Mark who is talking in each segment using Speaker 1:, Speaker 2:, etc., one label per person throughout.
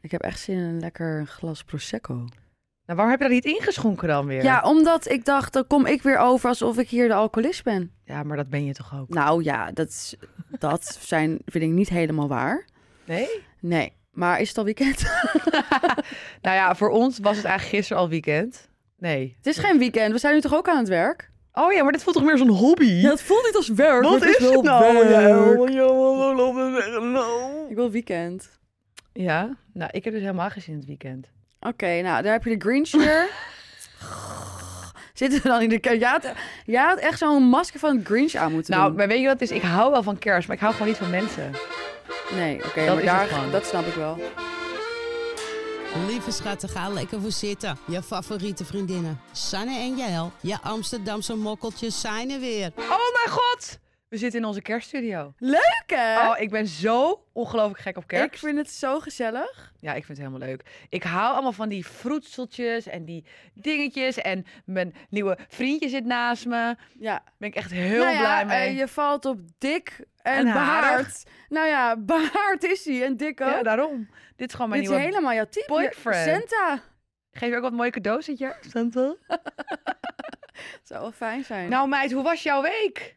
Speaker 1: Ik heb echt zin in een lekker glas prosecco.
Speaker 2: Nou, waarom heb je dat niet ingeschonken dan weer?
Speaker 1: Ja, omdat ik dacht, dan kom ik weer over alsof ik hier de alcoholist ben.
Speaker 2: Ja, maar dat ben je toch ook?
Speaker 1: Nou ja, dat, is- dat zijn, vind ik niet helemaal waar.
Speaker 2: Nee?
Speaker 1: Nee, maar is het al weekend?
Speaker 2: Nou ja, voor ons was het eigenlijk gisteren al weekend. Nee.
Speaker 1: het is geen weekend, we zijn nu toch ook aan het werk?
Speaker 2: Oh ja, maar dit voelt toch meer zo'n hobby?
Speaker 1: het voelt niet als werk.
Speaker 2: Wat is het nou?
Speaker 1: oh,
Speaker 2: Ja.
Speaker 1: Ik wil weekend.
Speaker 2: Ja, nou, ik heb dus helemaal geen zin in het weekend.
Speaker 1: Oké, nou, daar heb je de Grinch weer. Zitten we dan in de kerk? Jij had, jij had echt zo'n masker van Grinch aan moeten
Speaker 2: Nou,
Speaker 1: doen.
Speaker 2: maar weet je wat het is? Ik hou wel van kerst, maar ik hou gewoon niet van mensen.
Speaker 1: Nee, oké,
Speaker 2: dat
Speaker 1: maar
Speaker 2: is
Speaker 1: daar,
Speaker 2: het gewoon.
Speaker 1: dat snap ik wel.
Speaker 3: Lieve schatten, ga lekker voor zitten. Je favoriete vriendinnen, Sanne en Jael. Je Amsterdamse mokkeltjes zijn er weer.
Speaker 2: Oh mijn god! We zitten in onze kerststudio.
Speaker 1: Leuk hè?
Speaker 2: Oh, ik ben zo ongelooflijk gek op kerst.
Speaker 1: ik vind het zo gezellig.
Speaker 2: Ja, ik vind het helemaal leuk. Ik hou allemaal van die vroetseltjes en die dingetjes. En mijn nieuwe vriendje zit naast me.
Speaker 1: Ja.
Speaker 2: Ben ik echt heel
Speaker 1: Nou ja,
Speaker 2: blij mee.
Speaker 1: eh, je valt op dik en,
Speaker 2: En
Speaker 1: behaard.
Speaker 2: harig.
Speaker 1: Nou ja, behaard is hij en dik ook.
Speaker 2: Ja, daarom. Dit is gewoon mijn
Speaker 1: Dit is
Speaker 2: nieuwe...
Speaker 1: helemaal jouw type.
Speaker 2: boyfriend.
Speaker 1: Santa.
Speaker 2: Geef je ook wat mooie cadeaus dit jaar? Santa.
Speaker 1: Het zou wel fijn zijn.
Speaker 2: Nou meid, hoe was jouw week?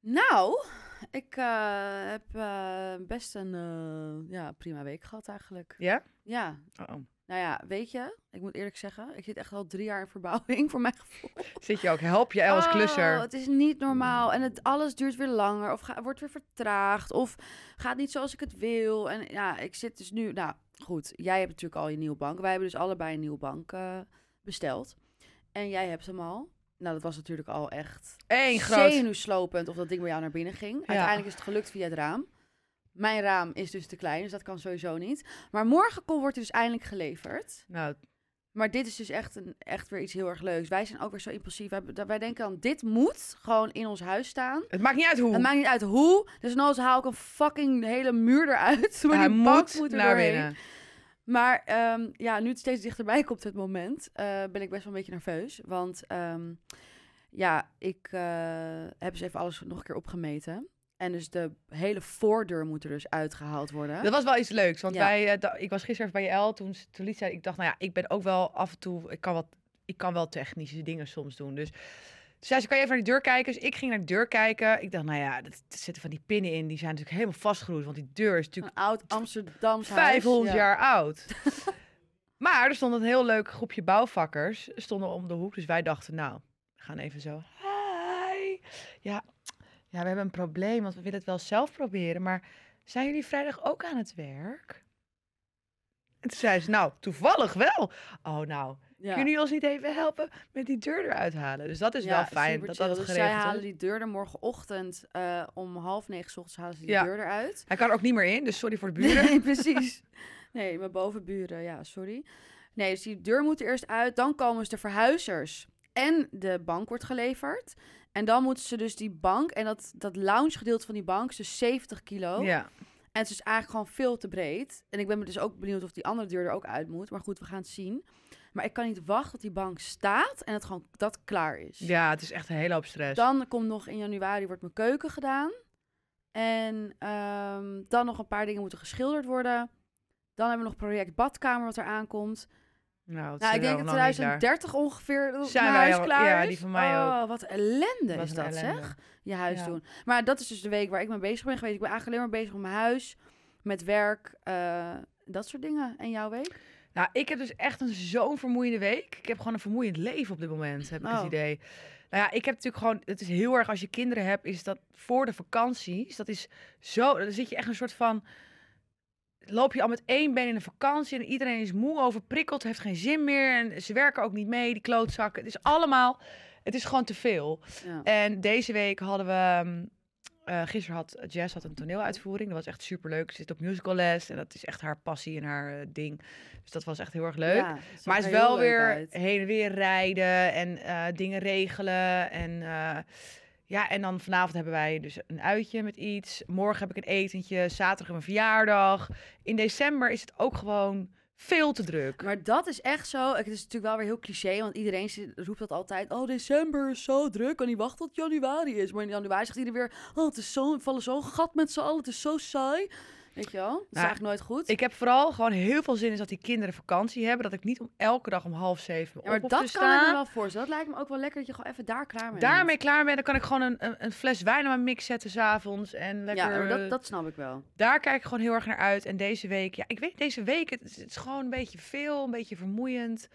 Speaker 1: Nou, ik eh, heb eh, best een eh, ja, prima week gehad eigenlijk.
Speaker 2: Ja?
Speaker 1: Ja,
Speaker 2: Oh.
Speaker 1: nou ja, weet je, ik moet eerlijk zeggen, ik zit echt al drie jaar in verbouwing voor mijn gevoel.
Speaker 2: Zit je ook? Help je El als
Speaker 1: Oh,
Speaker 2: klusser?
Speaker 1: het is niet normaal en het, alles duurt weer langer of ga- wordt weer vertraagd of gaat niet zoals ik het wil. En ja, ik zit dus nu, nou goed, jij hebt natuurlijk al je nieuwe bank. Wij hebben dus allebei een nieuwe bank eh, besteld en jij hebt hem al. Nou, dat was natuurlijk al echt
Speaker 2: Eén groot...
Speaker 1: zenuwslopend of dat ding bij jou naar binnen ging. Uiteindelijk is het gelukt via het raam. Mijn raam is dus te klein, dus dat kan sowieso niet. Maar morgen komt, wordt hij dus eindelijk geleverd.
Speaker 2: Nou,
Speaker 1: Maar dit is dus echt, een, echt weer iets heel erg leuks. Wij zijn ook weer zo impulsief. Wij, wij denken dan, dit moet gewoon in ons huis staan.
Speaker 2: het maakt niet uit hoe.
Speaker 1: Het maakt niet uit hoe. Dus noods haal ik een fucking hele muur eruit. Maar
Speaker 2: Hij
Speaker 1: die bank
Speaker 2: moet
Speaker 1: moet er
Speaker 2: naar
Speaker 1: doorheen.
Speaker 2: binnen.
Speaker 1: Maar ehm, ja, nu het steeds dichterbij komt het moment, eh, ben ik best wel een beetje nerveus. Want ehm, ja, ik eh, heb dus even alles nog een keer opgemeten. En dus de hele voordeur moet er dus uitgehaald worden.
Speaker 2: Dat was wel iets leuks, want
Speaker 1: Ja.
Speaker 2: wij, eh, da- ik was gisteren even bij JL, toen, ze- toen liet zij, ik dacht, nou ja, ik ben ook wel af en toe, ik kan, wat, ik kan wel technische dingen soms doen, dus... Toen zei ze, kan je even naar de deur kijken? Dus ik ging naar de deur kijken. Ik dacht, nou ja, dat- er zitten van die pinnen in. Die zijn natuurlijk helemaal vastgeroest. Want die deur is natuurlijk
Speaker 1: Een oud Amsterdamse
Speaker 2: 500 jaar oud. maar er stond een heel leuk groepje bouwvakkers. Stonden om de hoek. Dus wij dachten, nou, we gaan even zo. Hi. Ja, ja, we hebben een probleem, want we willen het wel zelf proberen. Maar zijn jullie vrijdag ook aan het werk? En toen zei ze, nou, toevallig wel. Oh, nou, kunnen jullie ons niet even helpen met die deur eruit halen? Dus dat is wel fijn dat dat het
Speaker 1: dus zij
Speaker 2: geregeld
Speaker 1: halen
Speaker 2: is.
Speaker 1: die deur er morgenochtend eh, om half negen 's ochtends halen ze die
Speaker 2: Ja.
Speaker 1: deur eruit.
Speaker 2: Hij kan er ook niet meer in, dus sorry voor de buren.
Speaker 1: Nee, precies. Nee, mijn bovenburen, ja, sorry. Nee, dus die deur moet er eerst uit. Dan komen dus de verhuizers. En de bank wordt geleverd. En dan moeten ze dus die bank en dat, dat lounge gedeelte van die bank is dus 70 kilo.
Speaker 2: Ja.
Speaker 1: En het is dus eigenlijk gewoon veel te breed. En ik ben me dus ook benieuwd of die andere deur er ook uit moet. Maar goed, we gaan het zien. Maar ik kan niet wachten tot die bank staat en het gewoon dat klaar is.
Speaker 2: ja, het is echt een hele hoop stress.
Speaker 1: Dan komt nog in januari wordt mijn keuken gedaan. En ehm, dan nog een paar dingen moeten geschilderd worden. Dan hebben we nog project badkamer wat er aankomt.
Speaker 2: Nou, het
Speaker 1: Nou,
Speaker 2: zit
Speaker 1: ik denk
Speaker 2: er
Speaker 1: dat
Speaker 2: nog lang niet daar.
Speaker 1: 2030 ongeveer dat
Speaker 2: Zijn
Speaker 1: mijn
Speaker 2: wij
Speaker 1: huis
Speaker 2: al-
Speaker 1: klaar
Speaker 2: ja,
Speaker 1: is.
Speaker 2: die van mij
Speaker 1: oh, Wat ellende
Speaker 2: Wat
Speaker 1: is
Speaker 2: een
Speaker 1: dat,
Speaker 2: ellende.
Speaker 1: zeg. Je huis
Speaker 2: Ja.
Speaker 1: doen. Maar dat is dus de week waar ik mee bezig ben geweest. Ik ben eigenlijk alleen maar bezig met mijn huis, met werk, eh, dat soort dingen. En jouw week?
Speaker 2: Nou, ik heb dus echt een zo'n vermoeiende week. Ik heb gewoon een vermoeiend leven op dit moment, heb ik het
Speaker 1: Oh.
Speaker 2: idee. Nou ja, ik heb natuurlijk gewoon... Het is heel erg, als je kinderen hebt, is dat voor de vakanties... Dat is zo... Dan zit je echt een soort van... Loop je al met één been in de vakantie en iedereen is moe, overprikkeld, heeft geen zin meer. En ze werken ook niet mee, die klootzakken. Het is allemaal... Het is gewoon te veel.
Speaker 1: Ja.
Speaker 2: En deze week hadden we... ehm, eh, gisteren had Jess had een toneeluitvoering. Dat was echt superleuk. Ze zit op musical les en dat is echt haar passie en haar eh, ding. Dus dat was echt heel erg leuk.
Speaker 1: Ja, het zag
Speaker 2: maar het
Speaker 1: er
Speaker 2: is
Speaker 1: heel
Speaker 2: wel
Speaker 1: leuk
Speaker 2: weer
Speaker 1: uit.
Speaker 2: heen en weer rijden en eh, dingen regelen. En, eh, ja, en dan vanavond hebben wij dus een uitje met iets. Morgen heb ik een etentje. Zaterdag een verjaardag. In december is het ook gewoon veel te druk.
Speaker 1: Maar dat is echt zo. Het is natuurlijk wel weer heel cliché, want iedereen zit- roept dat altijd. Oh, december is zo druk, kan niet wachten tot januari is. Maar in januari zegt iedereen weer, oh, het is zo, we vallen zo'n gat met z'n allen, het is zo saai. Weet je wel? Dat is
Speaker 2: Nou,
Speaker 1: eigenlijk nooit goed.
Speaker 2: Ik heb vooral gewoon heel veel zin in dat die kinderen vakantie hebben. Dat ik niet om elke dag om half zeven
Speaker 1: ja, maar
Speaker 2: op hoef
Speaker 1: dat
Speaker 2: te
Speaker 1: kan ik me
Speaker 2: staan.
Speaker 1: wel voorstellen. Dat lijkt me ook wel lekker dat je gewoon even daar klaar mee
Speaker 2: Daarmee klaar ben, dan kan ik gewoon een, een, een fles wijn aan mijn mix zetten s'avonds. En
Speaker 1: bent.
Speaker 2: lekker... eh,
Speaker 1: Ja, maar dat, dat snap ik wel.
Speaker 2: Daar kijk ik gewoon heel erg naar uit. En deze week, ja, ik weet deze week, het, is- het is gewoon een beetje veel, een beetje vermoeiend.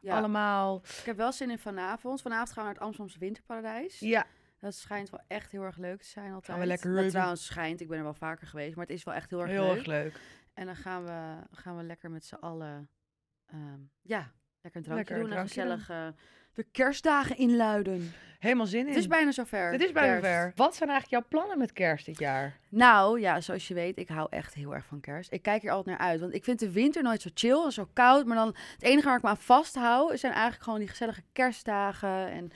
Speaker 1: Ja.
Speaker 2: Allemaal.
Speaker 1: Ik heb wel zin in vanavond. Vanavond gaan we naar het Amsterdamse Winterparadijs.
Speaker 2: Ja,
Speaker 1: Dat schijnt wel echt heel erg leuk te zijn altijd.
Speaker 2: lekker
Speaker 1: Dat
Speaker 2: reuken.
Speaker 1: trouwens schijnt. Ik ben er wel vaker geweest. Maar het is wel echt heel erg
Speaker 2: heel
Speaker 1: leuk.
Speaker 2: erg leuk.
Speaker 1: En dan gaan we, gaan we lekker met z'n allen... ehm, ja, lekker een drankje
Speaker 2: Lekker een
Speaker 1: doen. en
Speaker 2: drankje
Speaker 1: gezellig eh, de kerstdagen inluiden.
Speaker 2: Helemaal zin in.
Speaker 1: Het is bijna zover.
Speaker 2: Het is bijna
Speaker 1: Kerst.
Speaker 2: ver. Wat zijn eigenlijk jouw plannen met kerst dit jaar?
Speaker 1: Nou ja, zoals je weet, ik hou echt heel erg van kerst. Ik kijk hier altijd naar uit. Want ik vind de winter nooit zo chill en zo koud. Maar dan het enige waar ik me aan vasthoud, zijn eigenlijk gewoon die gezellige kerstdagen. En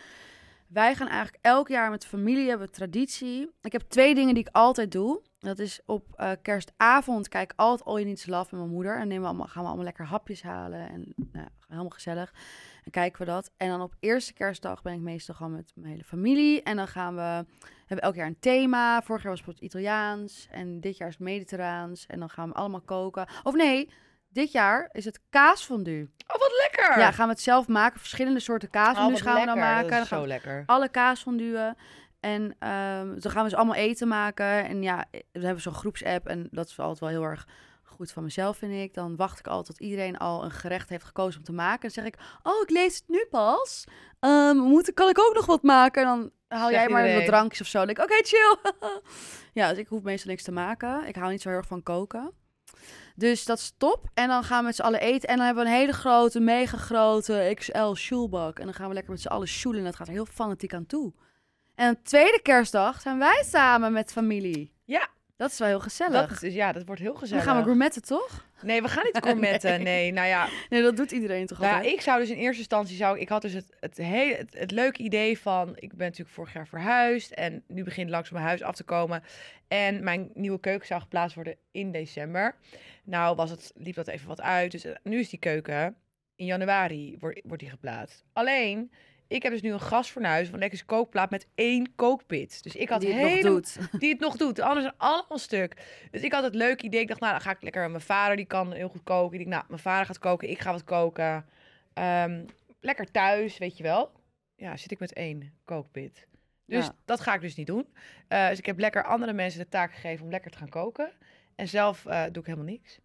Speaker 1: wij gaan eigenlijk elk jaar met de familie, hebben we traditie. Ik heb twee dingen die ik altijd doe. Dat is op eh, kerstavond kijk ik altijd All You Need Is Love met mijn moeder. En nemen we allemaal, gaan we allemaal lekker hapjes halen. En nou, ja, helemaal gezellig. En kijken we dat. En dan op eerste kerstdag ben ik meestal gewoon met mijn hele familie. En dan gaan we hebben we elk jaar een thema. Vorig jaar was het bijvoorbeeld Italiaans. En dit jaar is het Mediterraans. En dan gaan we allemaal koken. Of nee, dit jaar is het kaasfondue.
Speaker 2: Oh, wat lekker! Oh,
Speaker 1: Ja, gaan we het zelf maken. Verschillende soorten kaasfondues gaan we dan maken.
Speaker 2: Dat
Speaker 1: Dan
Speaker 2: is
Speaker 1: gaan
Speaker 2: zo
Speaker 1: we
Speaker 2: lekker.
Speaker 1: alle kaasfonduen. En ehm dan gaan we ze allemaal eten maken. En ja, eh, we hebben zo'n groepsapp. En dat is altijd wel heel erg goed van mezelf, vind ik. Dan wacht ik al tot iedereen al een gerecht heeft gekozen om te maken. En zeg ik, oh, ik lees het nu pas. Ehm, moet, ik- kan ik ook nog wat maken? En dan haal
Speaker 2: Zegt
Speaker 1: jij maar wat
Speaker 2: iedereen.
Speaker 1: drankjes of zo. Dan denk ik, oké, chill. ja, dus ik hoef meestal niks te maken. Ik hou niet zo heel erg van koken. Dus dat is top. En dan gaan we met z'n allen eten. En dan hebben we een hele grote, mega grote XL shoelbak. En dan gaan we lekker met z'n allen shoelen. En dat gaat er heel fanatiek aan toe. En op tweede kerstdag zijn wij samen met familie.
Speaker 2: Ja.
Speaker 1: Dat is wel heel gezellig.
Speaker 2: Dat is, ja, dat wordt heel
Speaker 1: dan
Speaker 2: gezellig.
Speaker 1: gaan we gourmetten, toch?
Speaker 2: Nee, we gaan niet gourmetten. nee. nou ja,
Speaker 1: Nee, dat doet iedereen toch
Speaker 2: nou ja,
Speaker 1: altijd?
Speaker 2: ik zou dus in eerste instantie, zou, ik- ik had dus het, het, hele, het, het leuke idee van, ik ben natuurlijk vorig jaar verhuisd en nu begint langzaam mijn huis af te komen. En mijn nieuwe keuken zou geplaatst worden in december. Nou was het, liep dat even wat uit, dus eh, nu is die keuken, in januari wordt, wordt die geplaatst. Alleen, ik heb dus nu een gasfornuis van Lekkers Kookplaat met één kookpit. Dus ik had
Speaker 1: Die het nog
Speaker 2: helemaal
Speaker 1: doet.
Speaker 2: die het nog doet. De anderen zijn allemaal stuk. Dus ik had het leuk idee. Ik dacht, nou, dan ga ik lekker met mijn vader. Die kan heel goed koken. Ik dacht, nou, mijn vader gaat koken. Ik ga wat koken. Ehm, lekker thuis, weet je wel. Ja, zit ik met één kookpit. Dus
Speaker 1: Ja.
Speaker 2: dat ga ik dus niet doen. Eh, dus ik heb lekker andere mensen de taak gegeven om lekker te gaan koken. En zelf eh, doe ik helemaal niks.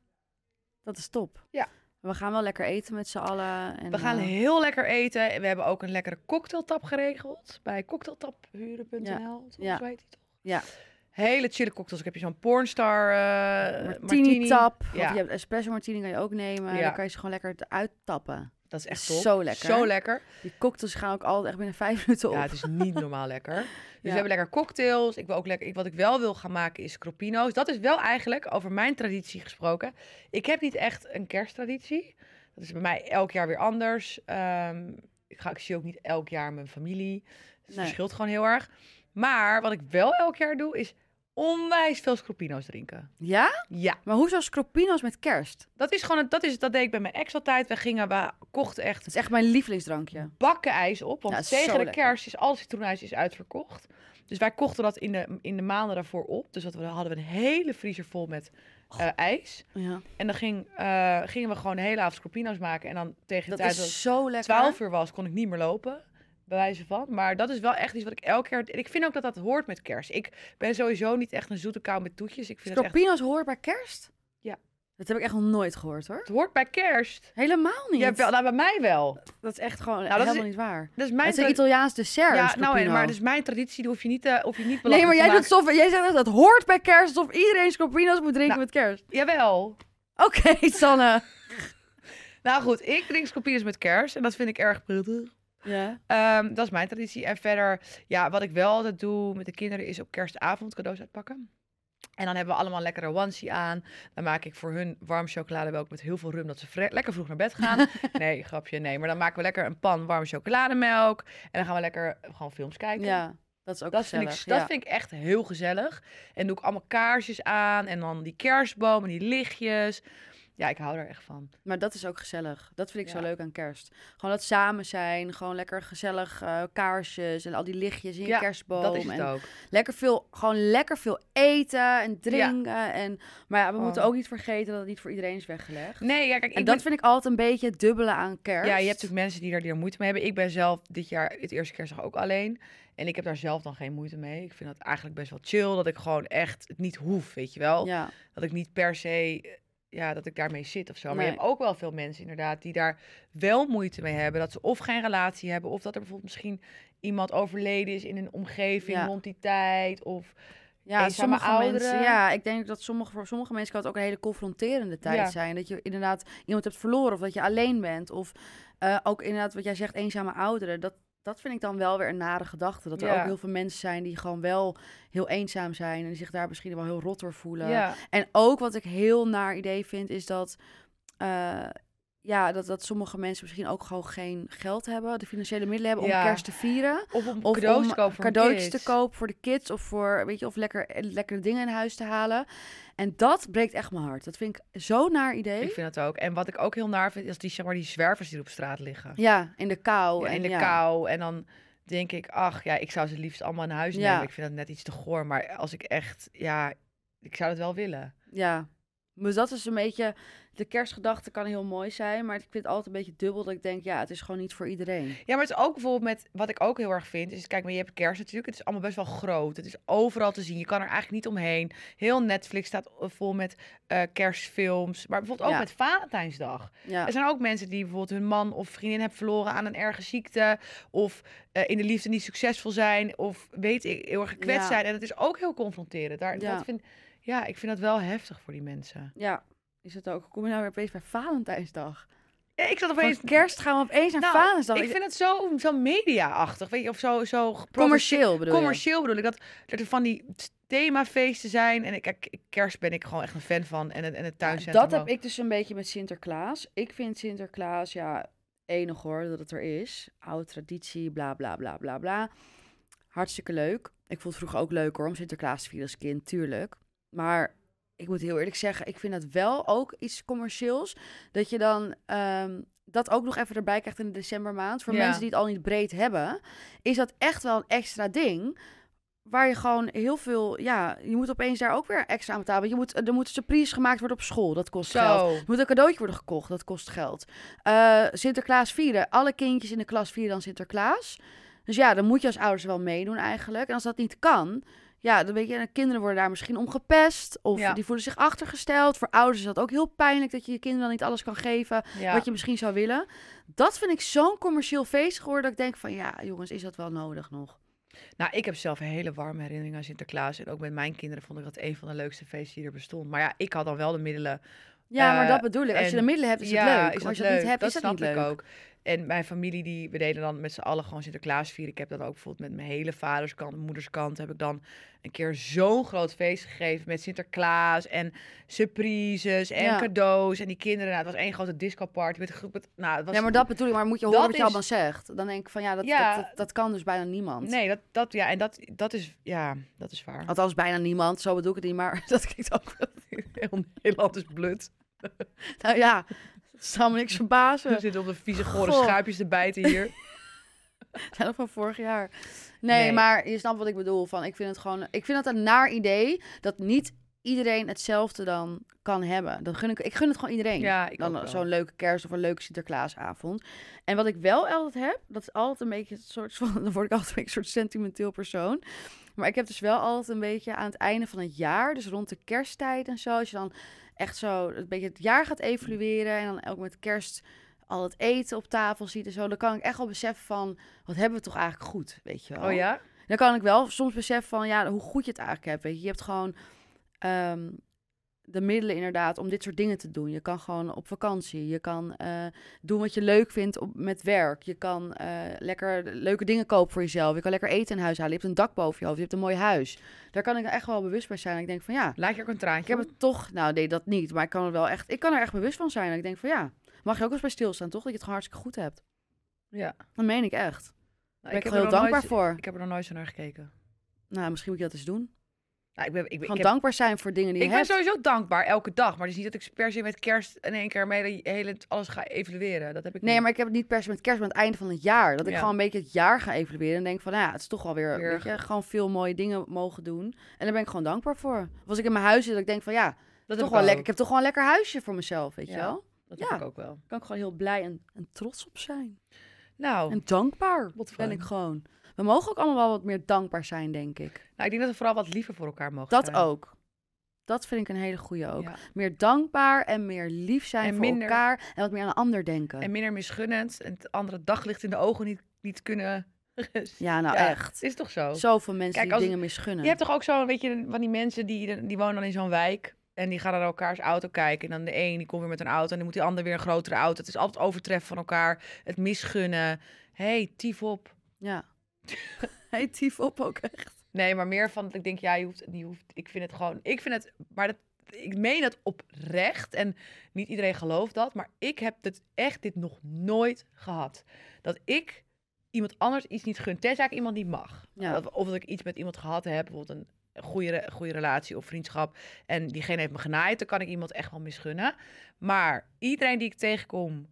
Speaker 1: Dat is top.
Speaker 2: Ja.
Speaker 1: We gaan wel lekker eten met z'n allen. En,
Speaker 2: We gaan
Speaker 1: eh,
Speaker 2: heel lekker eten. En We hebben ook een lekkere cocktailtap geregeld. Bij cocktailtaphuren.nl.
Speaker 1: Ja.
Speaker 2: volgens
Speaker 1: Ja.
Speaker 2: mij heet die toch?
Speaker 1: Ja.
Speaker 2: Hele chille cocktails. Ik heb hier zo'n pornstar eh
Speaker 1: martini tap.
Speaker 2: Ja.
Speaker 1: Ja. Je hebt espresso martini kan je ook nemen.
Speaker 2: Ja.
Speaker 1: Dan kan je ze gewoon lekker uittappen.
Speaker 2: Dat is echt
Speaker 1: Is
Speaker 2: top.
Speaker 1: zo lekker.
Speaker 2: Zo lekker.
Speaker 1: Die cocktails gaan ook altijd echt binnen vijf minuten op.
Speaker 2: Ja, het is niet normaal lekker. Dus we
Speaker 1: Ja.
Speaker 2: hebben lekker cocktails. Ik wil ook lekker, ik, wat ik wel wil gaan maken is scroppino's. Dat is wel eigenlijk, over mijn traditie gesproken. Ik heb niet echt een kersttraditie. Dat is bij mij elk jaar weer anders. Ehm, ik, ga, ik zie ook niet elk jaar mijn familie. Het
Speaker 1: Nee.
Speaker 2: verschilt gewoon heel erg. Maar wat ik wel elk jaar doe, is onwijs veel scroppino's drinken.
Speaker 1: Ja?
Speaker 2: Ja.
Speaker 1: Maar hoezo scroppino's met kerst?
Speaker 2: Dat is gewoon, het- dat, is, dat deed ik bij mijn ex altijd. We gingen, we kochten echt
Speaker 1: Dat is echt mijn lievelingsdrankje.
Speaker 2: bakken ijs op. Want
Speaker 1: Ja, is
Speaker 2: tegen
Speaker 1: zo
Speaker 2: de
Speaker 1: lekker.
Speaker 2: kerst is al het citroenijs is uitverkocht. Dus wij kochten dat in de, in de maanden daarvoor op. Dus dat we, dan hadden we een hele vriezer vol met eh,
Speaker 1: Oh.
Speaker 2: ijs.
Speaker 1: Ja.
Speaker 2: En dan ging, eh, gingen we gewoon de hele avond scroppino's maken. En dan tegen de
Speaker 1: Dat
Speaker 2: tijd dat
Speaker 1: is zo
Speaker 2: het
Speaker 1: lekker.
Speaker 2: 12 uur was, kon ik niet meer lopen. Bij wijze van. Maar dat is wel echt iets wat ik elke keer... En ik vind ook dat dat hoort met kerst. Ik ben sowieso niet echt een zoete kou met toetjes. Ik vind dat echt...
Speaker 1: Scroppino's hoor bij kerst?
Speaker 2: Ja.
Speaker 1: Dat heb ik echt nog nooit gehoord hoor.
Speaker 2: Het hoort bij kerst.
Speaker 1: Helemaal niet. Nou,
Speaker 2: Ja, wel, nou, bij mij wel.
Speaker 1: Dat is echt gewoon
Speaker 2: dat is-
Speaker 1: helemaal niet waar.
Speaker 2: Dat is mijn
Speaker 1: Het is een
Speaker 2: tra-
Speaker 1: Italiaans dessert.
Speaker 2: Ja, nou, en,
Speaker 1: scroppino.
Speaker 2: maar dus mijn traditie, die hoef je niet, eh, hoef je niet
Speaker 1: Nee, maar
Speaker 2: belachelijk te
Speaker 1: jij, doet
Speaker 2: maken.
Speaker 1: alsof, jij zegt dat het hoort bij kerst alsof iedereen scroppino's moet drinken
Speaker 2: Nou.
Speaker 1: met kerst.
Speaker 2: Jawel.
Speaker 1: Oké, Sanne.
Speaker 2: Nou goed, ik drink scoopines met kers en dat vind ik erg prettig.
Speaker 1: Ja.
Speaker 2: Ehm, dat is mijn traditie. En verder, ja, wat ik wel altijd doe met de kinderen is op kerstavond cadeaus uitpakken. En dan hebben we allemaal een lekkere onesie aan. Dan maak ik voor hun warm chocolademelk met heel veel rum, dat ze vre- lekker vroeg naar bed gaan. nee, grapje, nee. Maar dan maken we lekker een pan warme chocolademelk. En dan gaan we lekker gewoon films kijken.
Speaker 1: ja, dat is ook
Speaker 2: Dat,
Speaker 1: gezellig.
Speaker 2: vind ik, dat
Speaker 1: ja.
Speaker 2: vind ik echt heel gezellig. En doe ik allemaal kaarsjes aan en dan die kerstboom en die lichtjes. Ja, ik hou er echt van.
Speaker 1: Maar dat is ook gezellig. Dat vind ik
Speaker 2: Ja.
Speaker 1: zo leuk aan kerst. Gewoon dat samen zijn. Gewoon lekker gezellig eh, kaarsjes en al die lichtjes in je
Speaker 2: Ja,
Speaker 1: kerstboom.
Speaker 2: dat is het
Speaker 1: en
Speaker 2: ook.
Speaker 1: lekker veel, gewoon lekker veel eten en drinken. En, maar ja, we
Speaker 2: Oh.
Speaker 1: moeten ook niet vergeten dat het niet voor iedereen is weggelegd.
Speaker 2: Nee, ja, kijk, ik
Speaker 1: en
Speaker 2: ben-
Speaker 1: dat vind ik altijd een beetje het dubbele aan kerst.
Speaker 2: Ja, je hebt natuurlijk mensen die daar, die er moeite mee hebben. Ik ben zelf dit jaar het eerste kerstdag ook alleen. En ik heb daar zelf dan geen moeite mee. Ik vind dat eigenlijk best wel chill. Dat ik gewoon echt het niet hoef, weet je wel.
Speaker 1: Ja,
Speaker 2: Dat ik niet per se, eh, ja, dat ik daarmee zit of zo. Maar je
Speaker 1: Nee.
Speaker 2: hebt ook wel veel mensen inderdaad die daar wel moeite mee hebben. Dat ze of geen relatie hebben. Of dat er bijvoorbeeld misschien iemand overleden is in een omgeving
Speaker 1: Ja.
Speaker 2: rond die tijd. Of
Speaker 1: ja
Speaker 2: Eenzame
Speaker 1: sommige mensen.
Speaker 2: ouderen.
Speaker 1: Ja, ik denk dat sommige, voor sommige mensen kan het ook een hele confronterende tijd
Speaker 2: Ja.
Speaker 1: zijn. Dat je inderdaad iemand hebt verloren of dat je alleen bent. Of eh, ook inderdaad wat jij zegt, eenzame ouderen. Dat, dat vind ik dan wel weer een nare gedachte. Dat er
Speaker 2: Ja.
Speaker 1: ook heel veel mensen zijn die gewoon wel heel eenzaam zijn. En die zich daar misschien wel heel rot door voelen.
Speaker 2: ja.
Speaker 1: En ook wat ik heel naar idee vind, is dat, eh, ja, dat, dat sommige mensen misschien ook gewoon geen geld hebben, de financiële middelen hebben
Speaker 2: Ja.
Speaker 1: om kerst te vieren.
Speaker 2: Of om
Speaker 1: Of
Speaker 2: cadeaus
Speaker 1: om
Speaker 2: te kopen voor hun
Speaker 1: cadeautjes te
Speaker 2: kids.
Speaker 1: kopen voor de kids of voor, weet je, of lekker, eh, lekkere dingen in huis te halen. En dat breekt echt mijn hart. Dat vind ik zo naar idee.
Speaker 2: Ik vind dat ook. En wat ik ook heel naar vind, is die, zeg maar, die zwervers die op straat liggen.
Speaker 1: Ja, in de kou.
Speaker 2: Ja,
Speaker 1: en
Speaker 2: in de
Speaker 1: ja.
Speaker 2: kou. En dan denk ik, ach ja, ik zou ze liefst allemaal in huis
Speaker 1: Ja.
Speaker 2: nemen. Ik vind dat net iets te goor. Maar als ik echt, ja, ik zou het wel willen.
Speaker 1: Ja. Dus dat is een beetje, de kerstgedachte kan heel mooi zijn, maar ik vind het altijd een beetje dubbel dat ik denk, ja, het is gewoon niet voor iedereen.
Speaker 2: Ja, maar het is ook bijvoorbeeld met, wat ik ook heel erg vind, is kijk, maar je hebt kerst natuurlijk. Het is allemaal best wel groot. Het is overal te zien. Je kan er eigenlijk niet omheen. Heel Netflix staat eh, vol met eh, kerstfilms. Maar bijvoorbeeld ook
Speaker 1: Ja.
Speaker 2: met Valentijnsdag.
Speaker 1: Ja.
Speaker 2: Er zijn ook mensen die bijvoorbeeld hun man of vriendin hebben verloren aan een erge ziekte. Of eh, in de liefde niet succesvol zijn. Of weet ik, heel erg gekwetst
Speaker 1: Ja.
Speaker 2: zijn. En dat is ook heel confronterend. Daar,
Speaker 1: Ja.
Speaker 2: dat vind, ja, ik vind dat wel heftig voor die mensen.
Speaker 1: Ja, is het ook. Kom je nou weer opeens bij Valentijnsdag?
Speaker 2: Ja, ik zat opeens...
Speaker 1: Van kerst gaan we opeens naar
Speaker 2: Nou,
Speaker 1: Valentijnsdag.
Speaker 2: Ik vind het zo, zo media-achtig, weet je. Of zo, zo geproduceerd-
Speaker 1: commercieel bedoel je?
Speaker 2: commercieel bedoel ik. Dat, dat er van die themafeesten zijn. En ik, kijk, kerst ben ik gewoon echt een fan van. En het, en het
Speaker 1: Ja,
Speaker 2: tuincentrum
Speaker 1: dat heb
Speaker 2: ook.
Speaker 1: ik dus een beetje met Sinterklaas. Ik vind Sinterklaas, ja, enig hoor dat het er is. Oude traditie, bla bla bla bla bla. Hartstikke leuk. Ik vond het vroeger ook leuk hoor, om Sinterklaas te vieren als kind, tuurlijk. Maar ik moet heel eerlijk zeggen, ik vind dat wel ook iets commercieels. Dat je dan ehm, dat ook nog even erbij krijgt in de decembermaand. Voor
Speaker 2: Ja.
Speaker 1: mensen die het al niet breed hebben, is dat echt wel een extra ding. Waar je gewoon heel veel, ja, je moet opeens daar ook weer extra aan betalen. Je moet, er moet surprise gemaakt worden op school, dat kost geld.
Speaker 2: Zo.
Speaker 1: Er moet een cadeautje worden gekocht, dat kost geld. Eh, Sinterklaas vieren, alle kindjes in de klas vieren dan Sinterklaas. Dus ja, dan moet je als ouders wel meedoen eigenlijk. En als dat niet kan, ja, dan weet je, de kinderen worden daar misschien om gepest. Of
Speaker 2: Ja.
Speaker 1: die voelen zich achtergesteld. Voor ouders is dat ook heel pijnlijk dat je je kinderen dan niet alles kan geven
Speaker 2: Ja.
Speaker 1: wat je misschien zou willen. Dat vind ik zo'n commercieel feest geworden dat ik denk van ja, jongens, is dat wel nodig nog?
Speaker 2: Nou, ik heb zelf een hele warme herinnering aan Sinterklaas. En ook met mijn kinderen vond ik dat een van de leukste feesten die er bestond. Maar ja, ik had dan wel de middelen.
Speaker 1: Ja, maar
Speaker 2: Eh,
Speaker 1: dat bedoel ik. Als je
Speaker 2: en-
Speaker 1: de middelen hebt, is het
Speaker 2: ja,
Speaker 1: leuk.
Speaker 2: is
Speaker 1: maar
Speaker 2: dat
Speaker 1: als je dat
Speaker 2: leuk?
Speaker 1: niet hebt,
Speaker 2: dat
Speaker 1: is dat
Speaker 2: snap
Speaker 1: niet leuk.
Speaker 2: ik ook. En mijn familie, die, we deden dan met z'n allen gewoon Sinterklaas vieren. Ik heb dat ook bijvoorbeeld met mijn hele vaderskant en moederskant. Heb ik dan een keer zo'n groot feest gegeven met Sinterklaas en surprises en
Speaker 1: Ja.
Speaker 2: cadeaus. En die kinderen, nou, het was één grote discoparty met een groep. met- nou, het was
Speaker 1: Ja, maar dat bedoel ik. Maar moet je horen
Speaker 2: Dat
Speaker 1: wat je
Speaker 2: is-
Speaker 1: allemaal zegt. Dan denk ik van ja, dat,
Speaker 2: Ja.
Speaker 1: dat, dat, dat kan dus bijna niemand.
Speaker 2: Nee, dat, dat, ja, en dat, dat is, ja, dat is waar.
Speaker 1: Althans, bijna niemand. Zo bedoel ik het niet, maar Oh, dat klinkt ook wel...
Speaker 2: Heel Nederland is blut.
Speaker 1: Nou ja, het zou me niks
Speaker 2: We
Speaker 1: verbazen.
Speaker 2: zitten op de vieze gore
Speaker 1: Goh.
Speaker 2: schaapjes te bijten hier.
Speaker 1: Zelf van vorig jaar. Nee,
Speaker 2: Nee.
Speaker 1: maar je snapt wat ik bedoel. Van, ik vind het gewoon... Ik vind dat een naar idee dat niet iedereen hetzelfde dan kan hebben. Dan gun ik, ik gun het gewoon iedereen.
Speaker 2: Ja, ik ook wel.
Speaker 1: dan eh, zo'n leuke kerst of een leuke Sinterklaasavond. En wat ik wel altijd heb, dat is altijd een beetje het soort van, dan word ik altijd een beetje een soort sentimenteel persoon. Maar ik heb dus wel altijd een beetje aan het einde van het jaar, dus rond de kersttijd en zo, als je dan echt zo een beetje het jaar gaat evalueren en dan ook met kerst al het eten op tafel ziet en zo, dan kan ik echt wel beseffen van, wat hebben we toch eigenlijk goed, weet je wel?
Speaker 2: Oh ja?
Speaker 1: Dan kan ik wel soms beseffen van ja, hoe goed je het eigenlijk hebt. Weet je, je hebt gewoon ehm, de middelen inderdaad om dit soort dingen te doen. Je kan gewoon op vakantie. Je kan eh, doen wat je leuk vindt op, met werk. Je kan eh, lekker leuke dingen kopen voor jezelf. Je kan lekker eten in huis halen. Je hebt een dak boven je hoofd. Je hebt een mooi huis. Daar kan ik echt wel bewust bij zijn. Ik denk van ja,
Speaker 2: Laat je ook een traantje?
Speaker 1: ik heb het toch. Nou, nee, dat niet. Maar ik kan er wel echt. Ik kan er echt bewust van zijn. Ik denk van ja, mag je ook eens bij stilstaan, toch? Dat je het gewoon hartstikke goed hebt.
Speaker 2: Ja.
Speaker 1: Dat meen ik echt. Daar ben ik,
Speaker 2: heb er
Speaker 1: heel
Speaker 2: nog
Speaker 1: dankbaar
Speaker 2: nooit-
Speaker 1: voor.
Speaker 2: Ik heb er nog nooit zo naar gekeken.
Speaker 1: Nou, misschien moet je dat eens doen.
Speaker 2: Nou, ik ben, ik, ben-
Speaker 1: Gewoon
Speaker 2: ik heb-
Speaker 1: dankbaar zijn voor dingen die
Speaker 2: ik
Speaker 1: je
Speaker 2: ben
Speaker 1: hebt.
Speaker 2: sowieso dankbaar elke dag. Maar het is niet dat ik per se met kerst in één keer mee hele, alles ga evalueren. Dat heb ik
Speaker 1: Nee,
Speaker 2: niet.
Speaker 1: maar ik heb het niet per se met kerst, maar aan het einde van het jaar. Dat ik
Speaker 2: Ja.
Speaker 1: gewoon een beetje het jaar ga evalueren. En denk van, nou ja, het is toch alweer,
Speaker 2: Weer-
Speaker 1: weet je, gewoon veel mooie dingen mogen doen. En daar ben ik gewoon dankbaar voor. Of als ik in mijn huis zit, dat ik denk van, ja,
Speaker 2: dat heb
Speaker 1: toch
Speaker 2: ik
Speaker 1: wel
Speaker 2: ook.
Speaker 1: lekker. Ik heb toch gewoon een lekker huisje voor mezelf, weet je
Speaker 2: Ja.
Speaker 1: wel.
Speaker 2: Dat
Speaker 1: Ja.
Speaker 2: heb ik ook wel.
Speaker 1: Daar kan ik gewoon heel blij en, en trots op zijn.
Speaker 2: Nou,
Speaker 1: Oh. En dankbaar
Speaker 2: wat fijn.
Speaker 1: ben ik gewoon. We mogen ook allemaal wel wat meer dankbaar zijn, denk ik.
Speaker 2: nou, ik denk dat we vooral wat liever voor elkaar mogen
Speaker 1: Dat
Speaker 2: zijn.
Speaker 1: ook. Dat vind ik een hele goede ook.
Speaker 2: Ja.
Speaker 1: Meer dankbaar en meer lief zijn
Speaker 2: En
Speaker 1: voor
Speaker 2: minder-
Speaker 1: elkaar. En wat meer aan de ander denken.
Speaker 2: En minder misgunnend. En het andere daglicht in de ogen niet, niet kunnen...
Speaker 1: Ja, nou
Speaker 2: Ja,
Speaker 1: echt.
Speaker 2: Is toch zo?
Speaker 1: Zoveel mensen
Speaker 2: Kijk,
Speaker 1: die
Speaker 2: als-
Speaker 1: dingen misgunnen.
Speaker 2: Je hebt toch ook zo'n beetje van die mensen die, die wonen dan in zo'n wijk. En die gaan naar elkaars auto kijken. En dan de een die komt weer met een auto. En dan moet die ander weer een grotere auto. Het is altijd overtreffen van elkaar. Het misgunnen. Hé, hey, tief op.
Speaker 1: Ja. Hij tief op ook echt.
Speaker 2: Nee, maar meer van dat ik denk, ja, je hoeft, je hoeft, ik vind het gewoon, ik vind het, maar dat, ik meen dat oprecht en niet iedereen gelooft dat, maar ik heb dit echt dit nog nooit gehad. Dat ik iemand anders iets niet gun, tenzij ik iemand niet mag.
Speaker 1: Ja.
Speaker 2: Of, of dat ik iets met iemand gehad heb, bijvoorbeeld een goede, re- goede relatie of vriendschap en diegene heeft me genaaid, dan kan ik iemand echt wel misgunnen. Maar iedereen die ik tegenkom,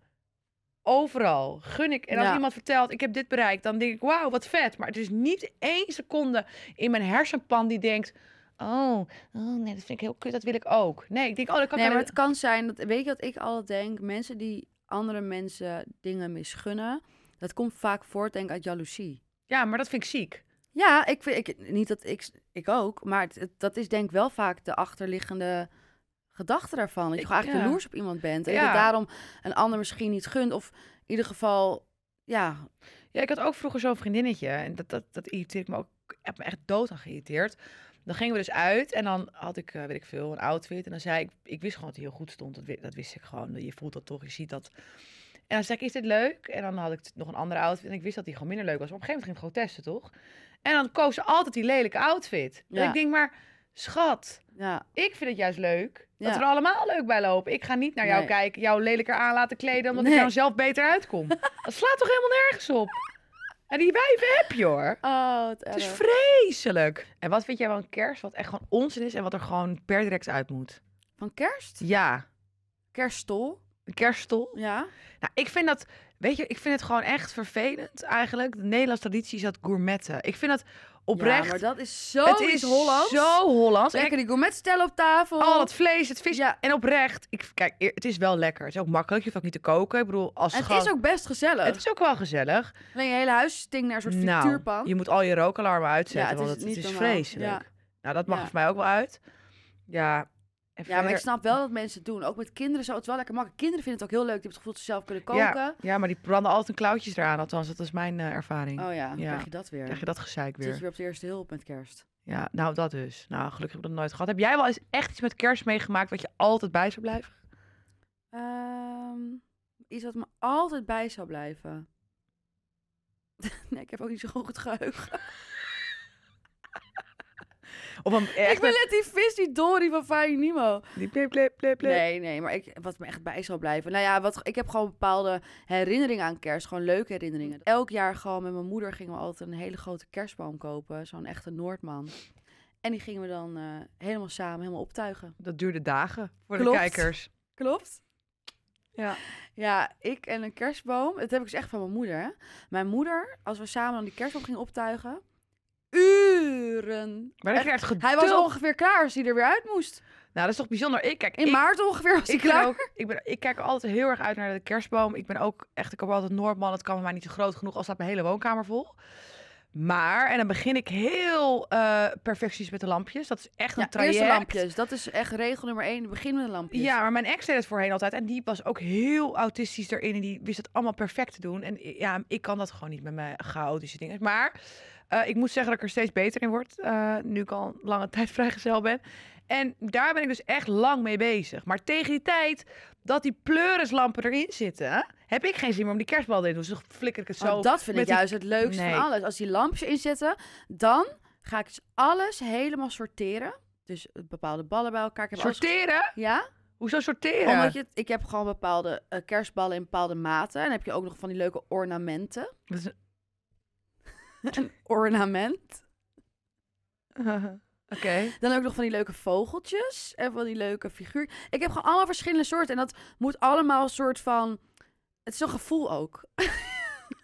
Speaker 2: overal gun ik. En als
Speaker 1: Ja.
Speaker 2: iemand vertelt, ik heb dit bereikt, dan denk ik, wauw, wat vet. Maar er is niet één seconde in mijn hersenpan die denkt, oh, oh nee, dat vind ik heel kut, dat wil ik ook. Nee, ik denk, oh, dat kan
Speaker 1: Nee,
Speaker 2: ik
Speaker 1: maar
Speaker 2: wel-
Speaker 1: het kan zijn, dat, weet je wat ik altijd denk? Mensen die andere mensen dingen misgunnen, dat komt vaak voort denk ik uit jaloezie.
Speaker 2: Ja, maar dat vind ik ziek.
Speaker 1: Ja, ik vind, ik, niet dat ik, ik ook, maar het- het- dat is denk ik wel vaak de achterliggende gedachte daarvan. Dat je
Speaker 2: Ik-
Speaker 1: gewoon eigenlijk
Speaker 2: ja.
Speaker 1: jaloers op iemand bent en
Speaker 2: Ja.
Speaker 1: dat daarom een ander misschien niet gunt. Of in ieder geval, ja,
Speaker 2: Ja, ik had ook vroeger zo'n vriendinnetje. En dat, dat, dat irriteerde ik me ook. Ik heb me echt dood aan geïrriteerd. Dan gingen we dus uit en dan had ik, eh, weet ik veel, een outfit. En dan zei ik, ik wist gewoon dat hij heel goed stond. Dat, wi- dat wist ik gewoon. Je voelt dat toch, je ziet dat. En dan zei ik, is dit leuk? En dan had ik t- nog een andere outfit. En ik wist dat die gewoon minder leuk was. Maar op een gegeven moment ging ik het gewoon testen, toch? En dan koos ze altijd die lelijke outfit. En
Speaker 1: Ja.
Speaker 2: ik denk maar, schat,
Speaker 1: ja,
Speaker 2: ik vind het juist leuk. Dat
Speaker 1: Ja.
Speaker 2: we er allemaal leuk bij lopen. Ik ga niet naar jou
Speaker 1: Nee.
Speaker 2: kijken, jou lelijker aan laten kleden, omdat ik
Speaker 1: Nee.
Speaker 2: dan zelf beter uitkom. dat slaat toch helemaal nergens op? En die wijven heb je hoor.
Speaker 1: oh, het
Speaker 2: Het is vreselijk. En wat vind jij van kerst, wat echt gewoon onzin is en wat er gewoon per direct uit moet?
Speaker 1: Van kerst?
Speaker 2: Ja,
Speaker 1: Kerststol,
Speaker 2: een kerststol.
Speaker 1: ja.
Speaker 2: Nou, ik vind dat, weet je, ik vind het gewoon echt vervelend eigenlijk. De Nederlandse traditie is dat gourmetten. Ik vind dat oprecht.
Speaker 1: Ja, maar dat is zo
Speaker 2: het is
Speaker 1: Hollands.
Speaker 2: zo Hollands. En ik-
Speaker 1: Lekker die gourmetstellen op tafel.
Speaker 2: Al dat vlees, het vis.
Speaker 1: Ja.
Speaker 2: En oprecht, ik, kijk, eer- het is wel lekker. Het is ook makkelijk. Je hoeft ook niet te koken. Ik bedoel, als
Speaker 1: het
Speaker 2: gast-
Speaker 1: is ook best gezellig.
Speaker 2: het is ook wel gezellig. Nou,
Speaker 1: Alleen je hele huis stinkt naar een soort frituurpan.
Speaker 2: je moet al je rookalarmen uitzetten,
Speaker 1: Ja, het
Speaker 2: want
Speaker 1: is
Speaker 2: het, het
Speaker 1: niet
Speaker 2: is
Speaker 1: normaal.
Speaker 2: vreselijk.
Speaker 1: Ja.
Speaker 2: Nou, dat mag
Speaker 1: Ja.
Speaker 2: voor mij ook wel uit. Ja. En
Speaker 1: Ja, maar
Speaker 2: verder-
Speaker 1: ik snap wel dat mensen het doen. Ook met kinderen zou het wel lekker makkelijk. Kinderen vinden het ook heel leuk. Die hebben het gevoel dat ze zelf kunnen
Speaker 2: Ja,
Speaker 1: koken.
Speaker 2: ja, maar die branden altijd een klauwtjes eraan. Althans, dat is mijn eh, ervaring.
Speaker 1: Oh ja, dan
Speaker 2: Ja.
Speaker 1: krijg je dat weer.
Speaker 2: Krijg je dat gezeik
Speaker 1: Dan Zit je
Speaker 2: weer.
Speaker 1: weer op de eerste hulp met kerst.
Speaker 2: Ja, nou dat dus. Nou, gelukkig heb ik dat nooit gehad. Heb jij wel eens echt iets met kerst meegemaakt wat je altijd bij zou blijven?
Speaker 1: Ehm, iets wat me altijd bij zou blijven. nee, ik heb ook niet zo goed geheugen.
Speaker 2: Of een echt
Speaker 1: ik ben net die vis, die Dory van Finding Nemo.
Speaker 2: die blip, blip, blip, blip.
Speaker 1: Nee, nee, maar ik, wat me echt bij zal blijven. Nou ja, wat, ik heb gewoon bepaalde herinneringen aan kerst. Gewoon leuke herinneringen. Elk jaar gewoon met mijn moeder gingen we altijd een hele grote kerstboom kopen. Zo'n echte Noordman. En die gingen we dan eh, helemaal samen helemaal optuigen.
Speaker 2: Dat duurde dagen voor
Speaker 1: Klopt.
Speaker 2: de kijkers.
Speaker 1: Klopt?
Speaker 2: Ja.
Speaker 1: Ja, ik en een kerstboom. Dat heb ik dus echt van mijn moeder. Hè? Mijn moeder, als we samen dan die kerstboom gingen optuigen... Uren.
Speaker 2: Maar dan krijg je het
Speaker 1: Hij was
Speaker 2: geduld.
Speaker 1: ongeveer klaar als hij er weer uit moest.
Speaker 2: Nou, dat is toch bijzonder. Ik kijk,
Speaker 1: In
Speaker 2: ik,
Speaker 1: maart ongeveer was hij
Speaker 2: ik, ben
Speaker 1: klaar.
Speaker 2: ook, ik, ben, ik kijk altijd heel erg uit naar de kerstboom. Ik ben ook echt, ik heb altijd Noordman. Het kan voor mij niet zo groot genoeg als staat mijn hele woonkamer vol. Maar, en dan begin ik heel eh perfectionistisch met de lampjes. Dat is echt een
Speaker 1: Ja,
Speaker 2: traject.
Speaker 1: eerste lampjes. Dat is echt regel nummer één. Begin met de lampjes.
Speaker 2: Ja, maar mijn ex deed het voorheen altijd. En die was ook heel autistisch erin. En die wist het allemaal perfect te doen. En i- ja, ik kan dat gewoon niet met mijn chaotische dingen. Maar eh, ik moet zeggen dat ik er steeds beter in word. eh, nu ik al lange tijd vrijgezel ben. En daar ben ik dus echt lang mee bezig. Maar tegen die tijd dat die pleurislampen erin zitten... heb ik geen zin meer om die kerstbal in te doen. Dus dan flikker ik het
Speaker 1: Oh,
Speaker 2: zo.
Speaker 1: dat vind ik
Speaker 2: met die-
Speaker 1: juist het leukste
Speaker 2: Nee.
Speaker 1: van alles. Als die lampjes inzetten, dan ga ik dus alles helemaal sorteren. Dus bepaalde ballen bij elkaar. Ik heb alles-
Speaker 2: Sorteren?
Speaker 1: Ja,
Speaker 2: Hoezo sorteren?
Speaker 1: omdat je, ik heb gewoon bepaalde eh, kerstballen in bepaalde maten. En dan heb je ook nog van die leuke ornamenten.
Speaker 2: Dat is-
Speaker 1: Een ornament.
Speaker 2: Oké.
Speaker 1: Dan ook nog van die leuke vogeltjes en van die leuke figuur. Ik heb gewoon allemaal verschillende soorten. En dat moet allemaal een soort van... Het is een gevoel ook.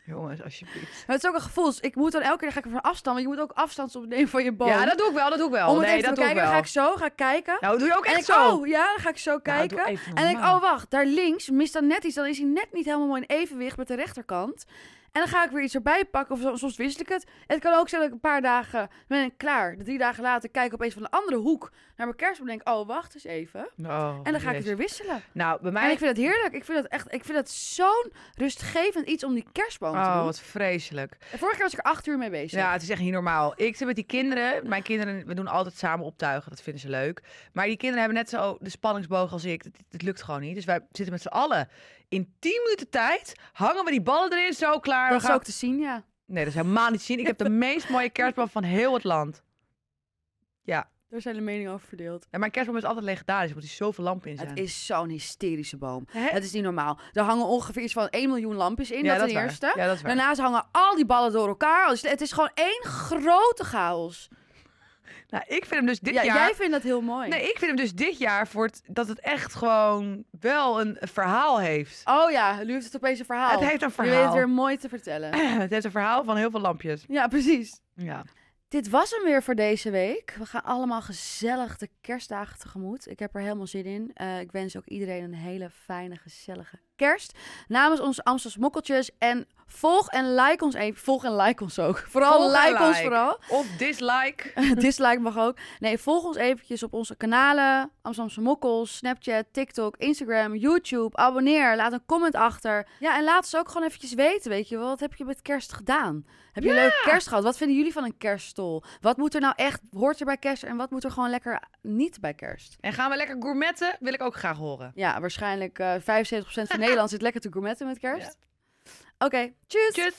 Speaker 2: Jongens, alsjeblieft.
Speaker 1: Maar het is ook een gevoel. Dus ik moet dan elke keer dan ga ik er van afstand. Want je moet ook afstand opnemen van je boom.
Speaker 2: Ja, dat doe ik wel, dat doe ik wel.
Speaker 1: Om het
Speaker 2: nee,
Speaker 1: even
Speaker 2: dat
Speaker 1: te
Speaker 2: doe ik
Speaker 1: bekijken.
Speaker 2: wel.
Speaker 1: Dan ga ik zo, ga ik kijken.
Speaker 2: Nou, doe je ook
Speaker 1: en
Speaker 2: echt
Speaker 1: ik,
Speaker 2: zo.
Speaker 1: oh ja, dan ga ik zo
Speaker 2: Nou,
Speaker 1: kijken.
Speaker 2: doe even
Speaker 1: En dan denk ik,
Speaker 2: normaal.
Speaker 1: oh wacht, daar links mist dan net iets. Dan is hij net niet helemaal mooi in evenwicht met de rechterkant. En dan ga ik weer iets erbij pakken. Of so- soms wissel ik het. En het kan ook zijn dat ik een paar dagen dan ben ik klaar. De drie dagen later kijk ik opeens van de andere hoek naar mijn kerstboom. En denk ik, oh wacht eens even.
Speaker 2: Oh,
Speaker 1: en dan ga ik het
Speaker 2: jezus.
Speaker 1: weer wisselen.
Speaker 2: Nou, bij
Speaker 1: En
Speaker 2: mij...
Speaker 1: ik vind dat heerlijk. Ik vind dat echt, ik vind dat zo'n rustgevend iets om die kerstboom te
Speaker 2: Oh,
Speaker 1: doen.
Speaker 2: wat vreselijk.
Speaker 1: En Vorige keer was ik er acht uur mee bezig.
Speaker 2: Ja, het is echt niet normaal. Ik zit met die kinderen. Mijn kinderen, we doen altijd samen optuigen. Dat vinden ze leuk. Maar die kinderen hebben net zo de spanningsboog als ik. Het, het lukt gewoon niet. Dus wij zitten met z'n allen in 10 minuten tijd. Hangen we die ballen erin. Zo klaar.
Speaker 1: dat
Speaker 2: we
Speaker 1: is
Speaker 2: gaan...
Speaker 1: ook te zien, ja.
Speaker 2: Nee, dat is helemaal niet te zien. Ik heb de meest mooie kerstboom van heel het land.
Speaker 1: Daar zijn de meningen over verdeeld.
Speaker 2: En mijn kerstboom is altijd legendarisch. Er moeten zoveel lampen in zijn.
Speaker 1: Het is zo'n hysterische boom.
Speaker 2: Hè?
Speaker 1: Het is niet normaal. Er hangen ongeveer iets van 1 miljoen lampjes in. dat
Speaker 2: is
Speaker 1: ten
Speaker 2: waar.
Speaker 1: eerste.
Speaker 2: Ja, dat is waar.
Speaker 1: Daarnaast hangen al die ballen door elkaar. Dus het is gewoon één grote chaos.
Speaker 2: Nou, ik vind hem dus dit
Speaker 1: Ja,
Speaker 2: jaar...
Speaker 1: Jij vindt dat heel mooi.
Speaker 2: Nee, ik vind hem dus dit jaar voor het, dat het echt gewoon wel een verhaal heeft.
Speaker 1: Oh ja, nu heeft het opeens een verhaal.
Speaker 2: Het heeft een
Speaker 1: Je weet
Speaker 2: verhaal.
Speaker 1: het weer mooi te vertellen.
Speaker 2: het heeft een verhaal van heel veel lampjes.
Speaker 1: Ja, precies.
Speaker 2: Ja.
Speaker 1: Dit was hem weer voor deze week. We gaan allemaal gezellig de kerstdagen tegemoet. Ik heb er helemaal zin in. Eh, ik wens ook iedereen een hele fijne, gezellige kerst. Namens onze Amsterdamse mokkeltjes. En volg en like ons even. Volg en like ons ook. Vooral
Speaker 2: Volg en
Speaker 1: like, ons
Speaker 2: like.
Speaker 1: vooral.
Speaker 2: Of dislike.
Speaker 1: Dislike mag ook. Nee, volg ons eventjes op onze kanalen. Amsterdamse Mokkels, Snapchat, TikTok, Instagram, YouTube. Abonneer, laat een comment achter. Ja, en laat ze ook gewoon eventjes weten, weet je wel. Wat heb je met kerst gedaan? Heb je een leuke kerst gehad? Wat vinden jullie van een kerststol? Wat moet er nou echt, hoort er bij kerst en wat moet er gewoon lekker niet bij kerst?
Speaker 2: En gaan we lekker gourmetten? Wil ik ook graag horen.
Speaker 1: Ja, waarschijnlijk eh 75% van Nederland zit lekker te gourmetten met kerst. Oké, tjus!
Speaker 2: Tjus.